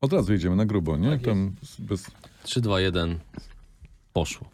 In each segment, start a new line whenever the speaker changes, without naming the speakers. Od razu jedziemy na grubo,
Tak
nie? Tam bez...
3, 2, 1. Poszło.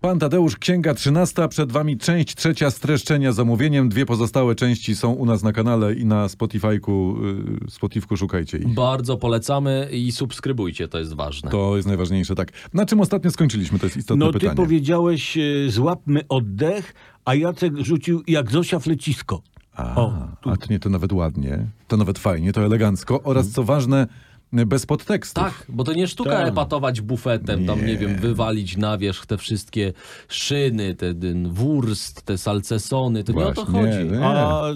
Pan Tadeusz, księga 13, przed wami część trzecia streszczenia zamówieniem. Dwie pozostałe części są u nas na kanale i na Spotifyku, y, Spotifku szukajcie ich.
Bardzo polecamy i subskrybujcie, to jest ważne.
To jest najważniejsze, tak. Na czym ostatnio skończyliśmy? To jest istotne
No ty
pytanie.
powiedziałeś, e, złapmy oddech, a Jacek rzucił jak Zosia flecisko.
A,
O,
a to nie, to nawet ładnie, to nawet fajnie, to elegancko oraz co ważne, y, bez podtekstów.
Mhm. Tak, bo to nie sztuka
Tak.
epatować bufetem, tam nie wiem, wywalić na wierzch te wszystkie szyny, te ten wurst, te salcesony, to nie o to
Właśnie,
chodzi.
nie.
A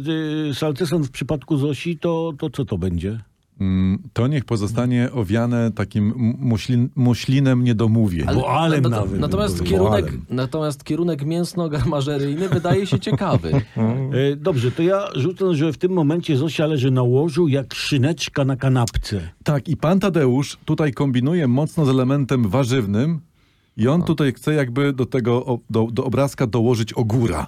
y, Salceson w przypadku Zosi, to, to co to będzie?
Mm, To niech pozostanie owiane takim m- muślin, muślinem niedomówień.
Ale- Boalem
nat-
nawet.
Natomiast
Boalem.
kierunek, natomiast kierunek mięsno-garmażeryjny wydaje się ciekawy.
E, Dobrze, to ja rzucę, że w tym momencie Zosia leży na łożu jak szyneczka na kanapce.
Tak, i pan Tadeusz tutaj kombinuje mocno z elementem warzywnym i on tutaj chce jakby do tego, o- do, do obrazka dołożyć ogóra.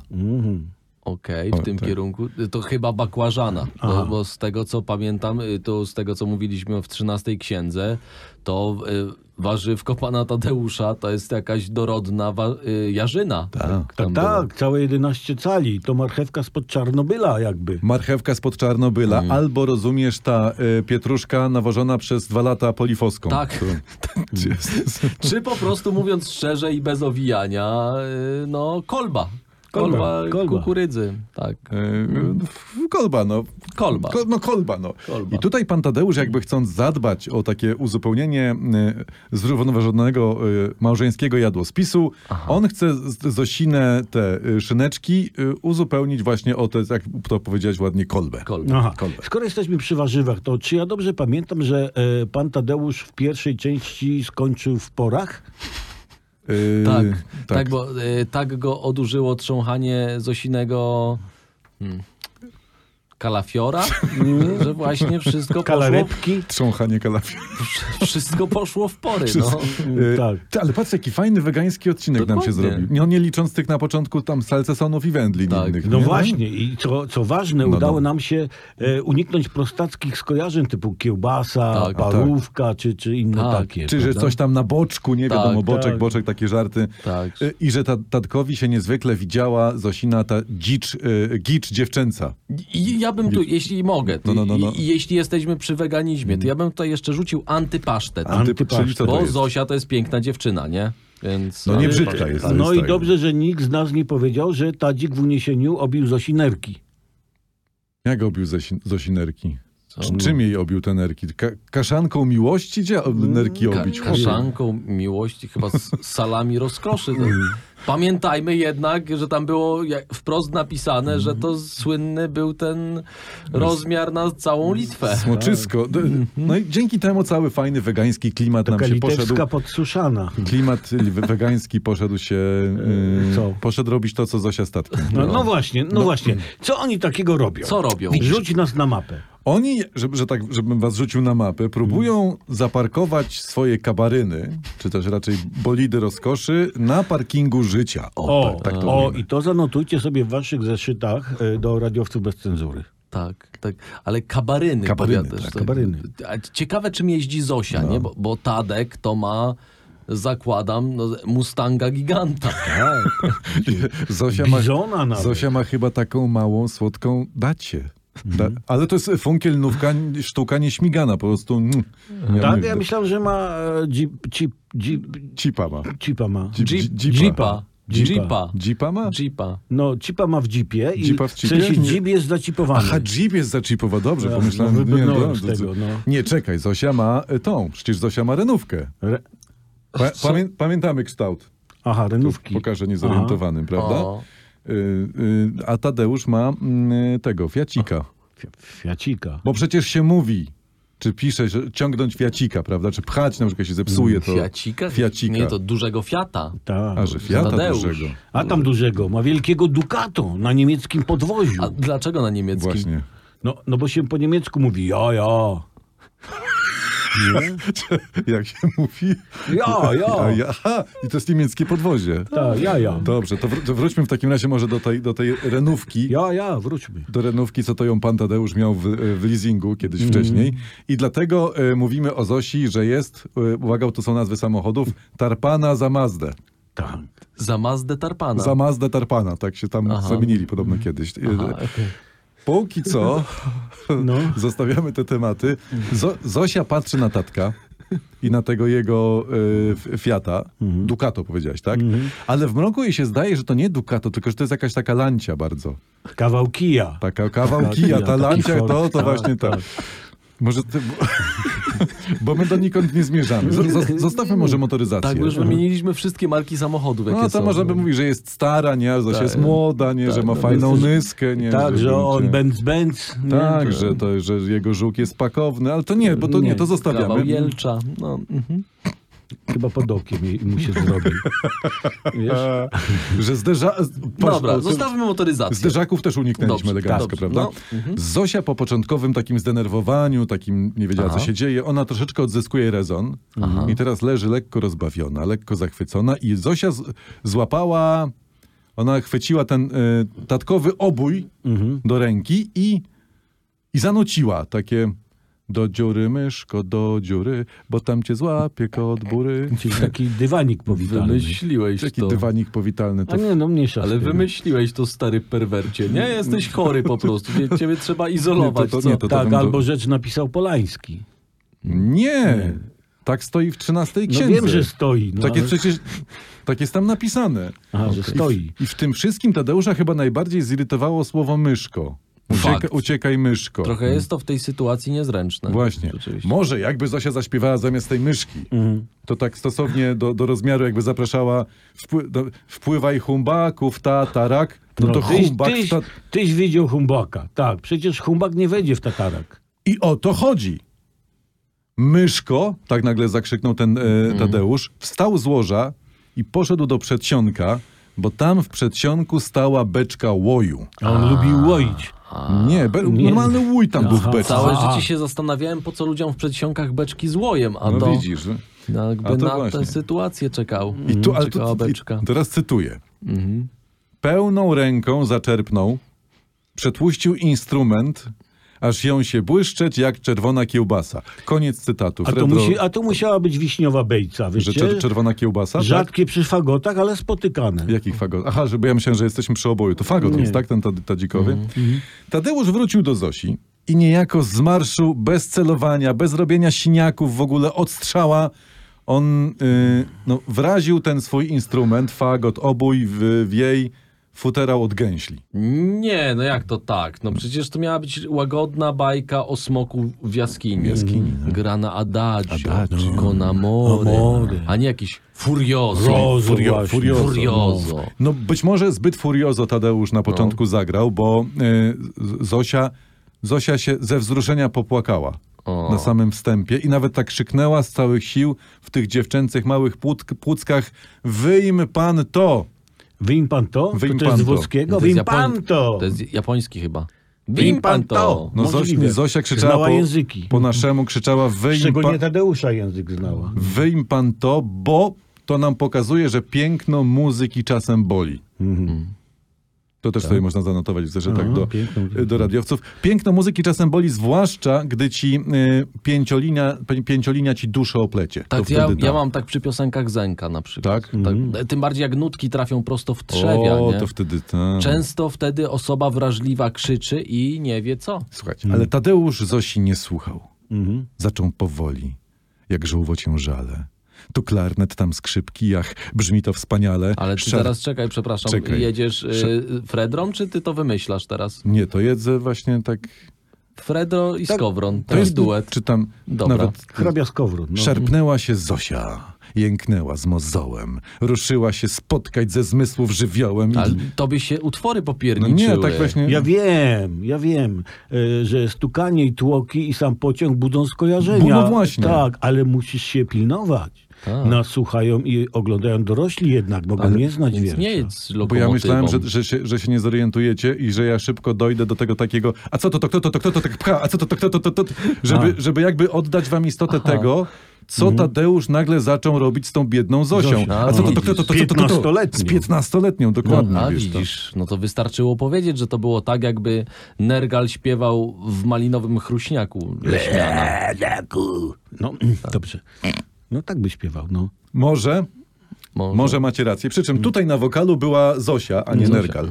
Okej, w tym kierunku. To chyba bakłażana, bo, bo z tego co pamiętam, y, to z tego co mówiliśmy w 13 księdze, to y, warzywko pana Tadeusza to jest jakaś dorodna wa- y, jarzyna. Tak,
Tak, tak, całe 11 cali. To marchewka spod Czarnobyla jakby.
Marchewka spod Czarnobyla, albo rozumiesz ta y, pietruszka nawożona przez dwa lata polifoską.
Tak. Czy po prostu mówiąc szczerze i bez owijania, y, no kolba. Kolba,
Kolba, kolba.
kukurydzy, tak.
Y, w- Kolba, no.
Kolba.
Ko, no kolba, no.
Kolba.
I tutaj pan Tadeusz jakby chcąc zadbać o takie uzupełnienie y, zrównoważonego y, małżeńskiego jadłospisu, on chce z- Zosinę te y, szyneczki y, uzupełnić właśnie o te, jak to powiedziałeś ładnie, kolbę.
Kolba.
Aha.
Kolbę.
Skoro jesteśmy przy warzywach, to czy ja dobrze pamiętam, że e, pan Tadeusz w pierwszej części skończył w porach?
Y,
Tak, tak. bo y, tak go odurzyło trząchanie Zosinego hmm, kalafiora, że właśnie wszystko poszło,
Kalaretki?
Trząchanie kalafi.
wszystko poszło w pory. No.
Y,
Tak.
Ty, ale patrz, jaki fajny wegański odcinek nam się
Dokładnie.
zrobił. No, nie licząc tych na początku tam salcesonów i wędlin
Tak.
innych.
No
nie?
właśnie, i co, co ważne,
no.
udało nam się e, uniknąć prostackich skojarzeń typu kiełbasa,
Tak,
parówka czy, czy inne
Tak.
takie.
Czy że
prawda?
coś tam na boczku, nie
Tak,
wiadomo, boczek,
tak.
boczek, takie żarty.
Tak.
Y, I że ta, Tatkowi się niezwykle widziała Zosina, ta dzicz, y, gicz dziewczęca.
I ja bym tu, jeśli mogę, to,
No, no, no, no.
I, i jeśli jesteśmy przy weganizmie, to ja bym tutaj jeszcze rzucił antypasztet.
Antypasztet.
czyli co to
bo
jest?
Zosia to jest piękna dziewczyna, nie? Więc
No nie
antypasztet.
brzydka jest. to
No
jest
i
tak.
dobrze, że nikt z nas nie powiedział, że Tadzik w uniesieniu obił Zosinerki.
Jak obił Zosi- Zosinerki?
Co?
Czy- Czym jej obił te nerki? Ka- kaszanką miłości? Gdzie o-
Mm.
nerki
Ka-
obić? Chłopie.
Kaszanką miłości, chyba z salami rozkoszy. To.
Mm.
Pamiętajmy jednak, że tam było jak- wprost napisane, że to słynny był ten rozmiar na całą Litwę.
Smoczysko.
Tak.
D-
Mhm.
No i dzięki temu cały fajny wegański klimat nam się poszedł.
Kalitewska podsuszana.
Klimat y, wegański poszedł się... y,
Co?
Poszedł robić to, co Zosia statkiem.
No, no właśnie, no, właśnie. Co oni takiego robią?
Co robią?
Rzuć nas na mapę.
Oni, żeby, że tak, żebym was rzucił na mapę, próbują zaparkować swoje kabaryny, czy też raczej bolidy rozkoszy, na parkingu życia. O,
O,
tak, tak to
o
mówimy.
i to zanotujcie sobie w waszych zeszytach e, do radiowców bez cenzury.
Tak, tak, ale kabaryny.
Kabaryny, No.
powiadasz,
tak,
kabaryny.
A Ciekawe, czym jeździ Zosia, nie? Bo, bo Tadek to ma, zakładam, no, Mustanga giganta.
Tak. Zosia ma,
Bizona nawet.
Zosia ma chyba taką małą, słodką dacie. Da,
Mhm.
ale to jest funkielnówka, sztuka nieśmigana, po prostu. Mm, Ja
Tak?
mówię,
Ja myślałem, że ma e, jeep, jeep, jeep,
Cipa ma.
jeepa ma.
Jeep-
Jeep-
jeepa.
Jeepa. Jeepa.
Jeepa ma?
Jeepa.
No, cipa ma w jeepie i
Jeepa w
w,
jeepie?
sensie
Nie.
jeep jest zaczipowany.
Aha, Jeep jest zaczipowa, dobrze,
Ja,
pomyślałem.
no,
nie,
wybrnąłem
no,
z
to-
tego, no.
nie, czekaj, Zosia ma y, tą, przecież Zosia ma renówkę.
Re...
Pa, pamię, pamiętamy kształt.
Aha, renówki.
Pokażę niezorientowanym,
O.
prawda? Y, y, a Tadeusz ma mm, tego, fiacika.
Fi- Fiacika.
Bo przecież się mówi, czy pisze, że ciągnąć fiacika, prawda? Czy pchać, na przykład się zepsuje to.
Fiacika?
Fiacika.
Nie, to dużego Fiata.
Tak.
A, że fiata
Tadeusz.
dużego.
A tam dużego, ma wielkiego Ducato na niemieckim podwoziu.
A dlaczego na niemieckim?
Właśnie.
No, no bo się po niemiecku mówi ja, ja.
Jak się mówi?
Ja,
A,
ja.
ja- Aha, i to jest niemieckie podwozie.
Ta, Tak, ja, ja.
Dobrze, to, wró- to wróćmy w takim razie może do tej, do tej renówki.
Ja, ja, wróćmy.
Do renówki, co to ją pan Tadeusz miał w, w leasingu kiedyś wcześniej. I dlatego e, mówimy o Zosi, że jest, e, uwaga, to są nazwy samochodów, Tarpana za Mazdę.
Tak.
Za Mazdę Tarpana.
Za Mazdę Tarpana, tak się tam
Aha.
zamienili podobno kiedyś. E,
Aha, okej.
Póki co
No.
zostawiamy te tematy. Zo Zosia patrzy na tatka i na tego jego y, f- Fiata. Ducato powiedziałaś, tak? Ale w mroku jej się zdaje, że to nie Ducato, tylko że to jest jakaś taka lancia bardzo.
Kawałkija.
Taka kawałkija, ta
Taki
lancia,
folk,
to, to
tak,
właśnie to.
tak.
Może ty, bo, bo my donikąd nie zmierzamy. Zo- zo- Zostawmy może motoryzację.
Tak, bo już wymieniliśmy wszystkie marki samochodów, jakie
No to
są.
można by mówić, że jest stara, nie? Że
Tak. no,
jest młoda, nie? Że ma fajną nyskę, nie?
Tak, że on
będzie-
Benz Benz. nie?
Tak, że, to, że jego żółk jest pakowny, ale to nie, bo to nie,
Nie.
to
Kawał
zostawiamy.
Jelcza. No, mhm.
Chyba pod okiem jej- mu się zrobi. Wiesz?
E, Że zderza... Patrz,
Dobra,
to-
zostawmy motoryzację.
Zderzaków też uniknęliśmy
Dobrze,
elegancko,
dobrze,
prawda?
no,
Zosia po początkowym takim zdenerwowaniu, takim nie wiedziała, co
Aha.
się dzieje, ona troszeczkę odzyskuje rezon i teraz leży lekko rozbawiona, lekko zachwycona i Zosia z- złapała, ona chwyciła ten y, tatkowy obój do ręki i, i zanuciła takie do dziury myszko, do dziury, bo tam cię złapie kot bury.
Czyli taki dywanik powitalny.
Wymyśliłeś
Taki
to.
dywanik powitalny. To
A nie, no mniejsza
Ale
z tym.
wymyśliłeś to, stary perwercie. Nie, jesteś chory po prostu. Cie- Ciebie trzeba izolować.
Nie, to- to
co?
nie, to-
Tak,
wam do-
albo rzecz napisał Polański.
Nie. Tak stoi w 13
No
księdze.
wiem, że stoi. No,
tak jest
ale-
przecież, tak jest tam napisane.
Aha, że stoi.
I w, I w tym wszystkim Tadeusza chyba najbardziej zirytowało słowo myszko. Ucieka,
Fakt.
uciekaj myszko.
Trochę jest to w tej sytuacji niezręczne.
Właśnie.
Rzeczywiście.
Może jakby Zosia zaśpiewała zamiast tej myszki,
Mhm.
to tak stosownie do, do rozmiaru jakby zapraszała wpły, do, wpływaj humbaków, tatarak, no,
No,
to
tyś,
humbak...
tyś,
Ta,
tyś widział humbaka. Tak, przecież humbak nie wejdzie w tatarak.
I o to chodzi. Myszko, tak nagle zakrzyknął ten e, Tadeusz, wstał z łoża i poszedł do przedsionka, bo tam w przedsionku stała beczka łoju.
A on lubił łoić.
nie, be,
nie.
normalny łój tam był w
Aha.
beczce.
Całe
Aha.
życie się zastanawiałem, po co ludziom w przedsionkach beczki z łojem, a
No
to
widzisz. że-
jakby
A to
na
właśnie.
tę sytuację czekał.
I
Mm,
Mhm,
tu, ale
Czekała
tu, i
beczka.
teraz cytuję. Pełną ręką zaczerpnął, przetłuścił instrument, aż ją się błyszczeć jak czerwona kiełbasa. Koniec cytatu.
A to,
Fredro,
musi, a to musiała być wiśniowa bejca,
że
wiecie?
czer- czerwona kiełbasa? tak?
Rzadkie przy fagotach, ale spotykane.
Jakich fagot? Aha, żeby ja myślałem, że jesteśmy przy oboju. To fagot jest, tak? Ten tad- tadzikowy. Tadeusz wrócił do Zosi i niejako z marszu, bez celowania, bez robienia siniaków, w ogóle od strzała, on y, no, wraził ten swój instrument, fagot, obój w, w jej futerał od gęśli.
Nie, no jak to tak? No przecież to miała być łagodna bajka o smoku w jaskini. jaskini Gra na Adagio,
tak. Adagio. no.
Konamory,
Amory.
a nie jakiś Furiozo.
Rozo
furio-
właśnie. No.
furiozo.
Furiozo.
No być może zbyt furiozo Tadeusz na początku zagrał, bo y, Z- Zosia, Zosia się ze wzruszenia popłakała
O.
na samym wstępie i nawet tak krzyknęła z całych sił w tych dziewczęcych małych płótk, płuckach wyjm pan to!
Wyjm pan to?
Wyjm
to, to jest
pan
z
to.
To
włoskiego?
jest
Wyjm
Japoń-
pan to!
To jest japoński chyba.
Wim pan to!
No Zoś,
Możliwe.
Zosia krzyczała
Znała
po,
języki.
po naszemu, krzyczała wyjm
Szczególnie
pan,
Tadeusza język znała.
wyjm pan to, bo to nam pokazuje, że piękno muzyki czasem boli. To też sobie można zanotować w zeszytach
Mhm. Tak? Aha,
do,
piękno muzyki.
do radiowców. Piękno muzyki czasem boli, zwłaszcza gdy ci y, pięciolinia, pięciolinia ci duszę oplecie.
Tak,
to
ja,
wtedy
ja
tak.
mam tak przy piosenkach Zenka na przykład.
Tak?
Tym bardziej jak nutki trafią prosto w trzewia,
o,
nie?
to wtedy tak.
Często wtedy osoba wrażliwa krzyczy i nie wie co.
Słuchajcie, ale
Mhm.
Tadeusz Zosi nie słuchał. Mhm. Zaczął powoli, jak żółwo ciężale. Tu klarnet, tam skrzypki, ach, brzmi to wspaniale.
Ale ty
Szar-
teraz czekaj, przepraszam,
Czekaj.
jedziesz y, Fredrą, czy ty to wymyślasz teraz?
Nie, to jedzę właśnie tak...
Fredro i Skowron, to
To
jest duet.
Tak. Czy tam
Dobra.
nawet...
Hrabia z kowrut. No.
Szarpnęła się Zosia, jęknęła z mozołem, ruszyła się spotkać ze zmysłów żywiołem. i-
Ale tobie się utwory
No
popierniczyły.
nie, tak właśnie...
Ja wiem, ja wiem, e, że stukanie i tłoki i sam pociąg budzą skojarzenia.
Bu- no właśnie.
Tak, ale musisz się pilnować.
Tak.
nas słuchają i oglądają dorośli jednak, mogą nie znać
Więc
wiersza.
nie jest
No Bo ja
lokomotywą.
myślałem, że, że, się, że się nie zorientujecie i że ja szybko dojdę do tego takiego, a co to, to kto to, to kto to tak pcha, a co to, to kto to, to, to, to żeby, żeby jakby oddać wam istotę tego, co
Mhm.
Tadeusz nagle zaczął robić z tą biedną Zosią.
Zosią.
A co to, to
widzisz.
kto to, to, to, to, to, to, to
Piętnastoletnią.
Z piętnastoletnią, dokładnie.
No, A
wiesz, to.
widzisz, no no to wystarczyło powiedzieć, że to było tak, jakby Nergal śpiewał w malinowym chruśniaku leśniana.
Eee, No,
Tak.
dobrze. No tak by śpiewał, no.
Może... Może macie rację. Przy
Mhm.
czym tutaj na wokalu była Zosia, a nie Nergal. E,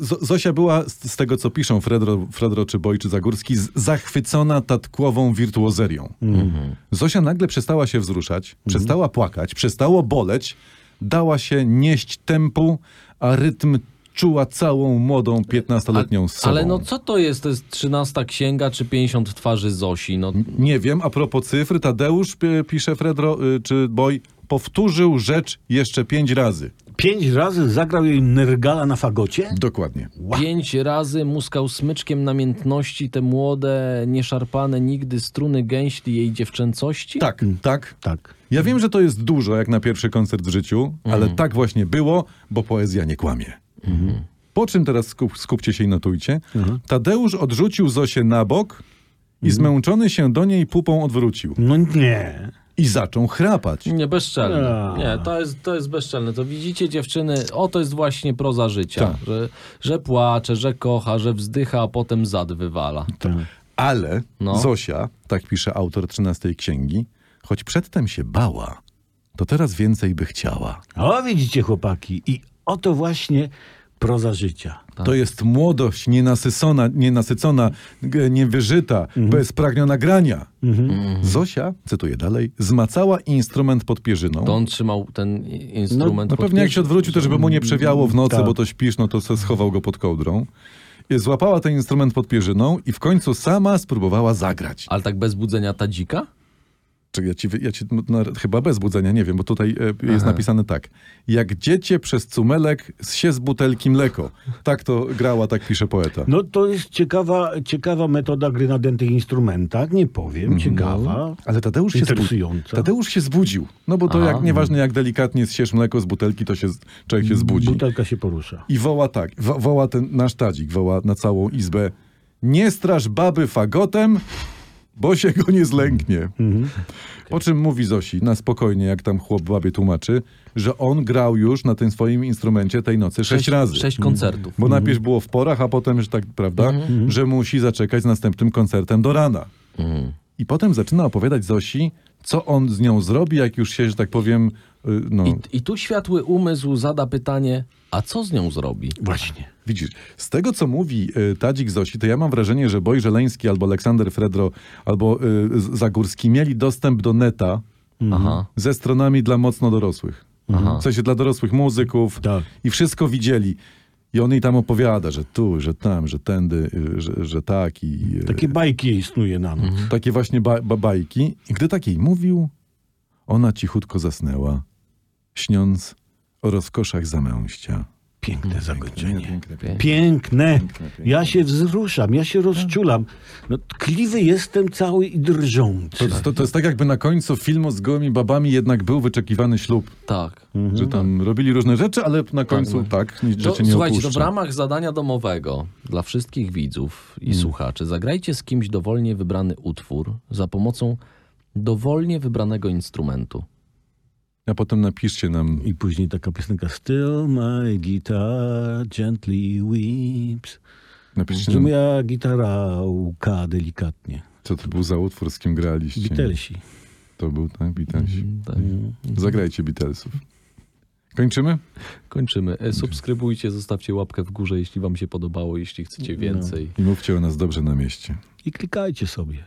Z- Zosia była, z z tego co piszą Fredro, Fredro czy Boj czy Zagórski, z- zachwycona tatkową wirtuozerią.
Mhm.
Zosia nagle przestała się wzruszać, przestała płakać, przestało boleć, dała się nieść tempu, a rytm czuła całą młodą 15-letnią sobą.
Ale no co to jest? To jest 13 księga czy 50 twarzy Zosi? No,
Nie wiem, a propos cyfr, Tadeusz, y, pisze Fredro y, czy Boj, powtórzył rzecz jeszcze pięć razy.
Pięć razy zagrał jej Nergala na fagocie?
Dokładnie.
Pięć razy muskał smyczkiem namiętności te młode, nieszarpane nigdy struny gęśli jej dziewczęcości?
Tak, tak,
Tak.
Ja wiem, że to jest dużo jak na pierwszy koncert w życiu, ale tak właśnie było, bo poezja nie kłamie. Po czym teraz skup, skupcie się i notujcie. Tadeusz odrzucił Zosię na bok i zmęczony się do niej pupą odwrócił.
No nie.
I zaczął chrapać.
Nie, bezczelne.
A.
Nie, to jest, to jest bezczelne. To widzicie, dziewczyny, o to jest właśnie proza życia.
Tak.
Że, że płacze, że kocha, że wzdycha, a potem zad wywala.
Tak.
Ale
No.
Zosia, tak pisze autor 13 księgi, choć przedtem się bała, to teraz więcej by chciała.
O, widzicie chłopaki. I oto właśnie proza życia.
To jest młodość nienasycona, nienasycona g- niewyżyta, bezpragniona grania. Zosia, cytuję dalej, zmacała instrument pod pierzyną.
To on trzymał ten i- instrument
No
pod
pewnie jak się
piersią.
odwrócił, to żeby mu nie przewiało w nocy,
Tak.
bo to śpisz, no to se schował go pod kołdrą. I Złapała ten instrument pod pierzyną i w końcu sama spróbowała zagrać.
Ale tak bez budzenia tadzika?
Czy ja ci, wy- ja ci no, no, chyba bez budzenia, nie wiem, bo tutaj e, jest napisane tak. Jak dziecię przez cumelek się z butelki mleko. Tak to grała, tak pisze poeta.
No to jest ciekawa, ciekawa metoda gry na dętych instrumentach, nie
Mhm.
powiem, ciekawa.
Ale Tadeusz się, zbudził.
Interesująca.
Tadeusz się zbudził. No bo to
Aha.
jak nieważne jak delikatnie zsiesz mleko z butelki, to się z- człowiek się zbudzi.
Butelka się porusza.
I woła tak, wo- woła ten nasz tadzik, woła na całą izbę. Nie straż baby fagotem, bo się go nie zlęknie.
Mhm.
Po czym mówi Zosi, na spokojnie, jak tam chłop babie tłumaczy, że on grał już na tym swoim instrumencie tej nocy sześć, razy. No.
Sześć koncertów.
Bo najpierw było w porach, a potem, że tak, prawda, że musi zaczekać z następnym koncertem do rana. I potem zaczyna opowiadać Zosi, co on z nią zrobi, jak już się, że tak powiem, y, no,
I, I tu światły umysł zada pytanie, a co z nią zrobi?
Właśnie.
widzisz. Z tego, co mówi y, Tadzik Zosi, to ja mam wrażenie, że Boj Żeleński albo Aleksander Fredro, albo y, Z- Zagórski mieli dostęp do neta
Aha.
ze stronami dla mocno dorosłych.
Aha.
W sensie dla dorosłych muzyków
Tak.
i wszystko widzieli. I on jej tam opowiada, że tu, że tam, że tędy, y, że, że tak i... y,
Takie bajki istnuje nam.
takie właśnie ba- ba- bajki. I gdy takiej mówił, ona cichutko zasnęła, śniąc o rozkoszach zamęścia.
Piękne zakończenie.
Mhm. piękne.
Piękne. Ja się wzruszam, ja się rozczulam. No, tkliwy jestem cały i drżący.
To, to, to jest tak, jakby na końcu filmu z gołymi babami jednak był wyczekiwany ślub.
Tak.
Że tam robili różne rzeczy, ale na końcu tak, nic
To,
rzeczy nie
słuchajcie, to w
opuszcza.
ramach zadania domowego dla wszystkich widzów
Hmm.
i słuchaczy zagrajcie z kimś dowolnie wybrany utwór za pomocą dowolnie wybranego instrumentu.
A potem napiszcie nam
I później taka piosenka Still my guitar gently weeps.
napiszcie
Że
nam,
moja gitara łka delikatnie.
co to był za utwór, z kim graliście.
Beatlesi. Mm.
To był, tak, Beatlesi.
Tak.
Zagrajcie Beatlesów. Kończymy?
Kończymy. E, Subskrybujcie, zostawcie łapkę w górze, jeśli wam się
No.
podobało, jeśli chcecie więcej.
I mówcie o nas dobrze na mieście. Mhm.
I klikajcie sobie.